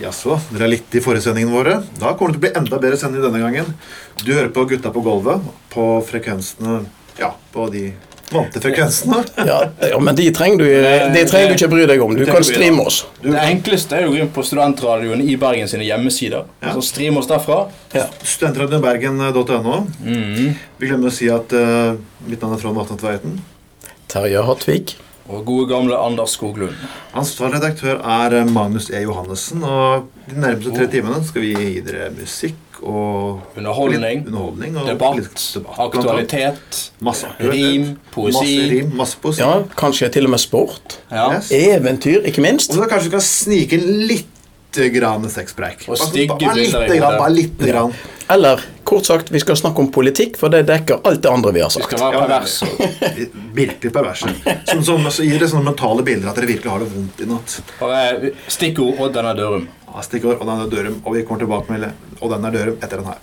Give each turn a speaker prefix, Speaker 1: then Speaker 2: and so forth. Speaker 1: Jaså, dere er litt i foresendingene våre? Da kommer det til å bli enda bedre sending denne gangen. Du hører på Gutta på gulvet på frekvensene Ja, på de vante frekvensene.
Speaker 2: Ja, ja men de trenger du, de trenger du ikke bry deg om. Du kan streame oss.
Speaker 3: Det enkleste er jo å gå inn på studentradioen i Bergen sine hjemmesider.
Speaker 1: Ja.
Speaker 3: Så stream oss derfra.
Speaker 2: Ja.
Speaker 1: Studentradiobergen.no.
Speaker 3: Mm.
Speaker 1: Vi glemmer å si at eh, mitt navn er Trond Vatne Tveiten.
Speaker 2: Terje Hattvik.
Speaker 3: Og gode gamle Anders Skoglund.
Speaker 1: Ansvarlig redaktør er eh, Magnus E. Johannessen. Og de nærmeste
Speaker 3: Oh.
Speaker 1: tre timene skal vi gi dere musikk og
Speaker 3: Underholdning,
Speaker 1: litt underholdning og
Speaker 3: Debatt,
Speaker 1: politisk debatt, blant annet.
Speaker 3: aktualitet,
Speaker 1: Masse aktualitet.
Speaker 3: rim,
Speaker 1: Masse
Speaker 3: poesi.
Speaker 1: rim, masse poesi.
Speaker 2: Ja, kanskje til og med sport.
Speaker 3: Ja.
Speaker 1: Yes.
Speaker 2: Eventyr, ikke
Speaker 1: Og
Speaker 2: minst.
Speaker 1: så kanskje du kan snike inn litt grann sexpreik.
Speaker 3: Og
Speaker 1: Bare-
Speaker 3: stygge
Speaker 1: bare
Speaker 3: bilder i
Speaker 1: lite grann,
Speaker 3: hodet.
Speaker 1: Bare lite grann.
Speaker 2: Eller kort sagt, vi skal snakke om politikk, for det dekker alt det andre vi har
Speaker 3: Du
Speaker 2: sagt.
Speaker 3: skal være
Speaker 1: Ja,
Speaker 3: pervers.
Speaker 1: Virkelig perverse. Som, som så gir det sånne mentale bilder at dere virkelig har det vondt i natt.
Speaker 3: Bare stikkord Odd denne Dørum.
Speaker 1: Ja, Stikkord, og den er Dørum, og vi kommer tilbake med Og den er Dørum etter den her.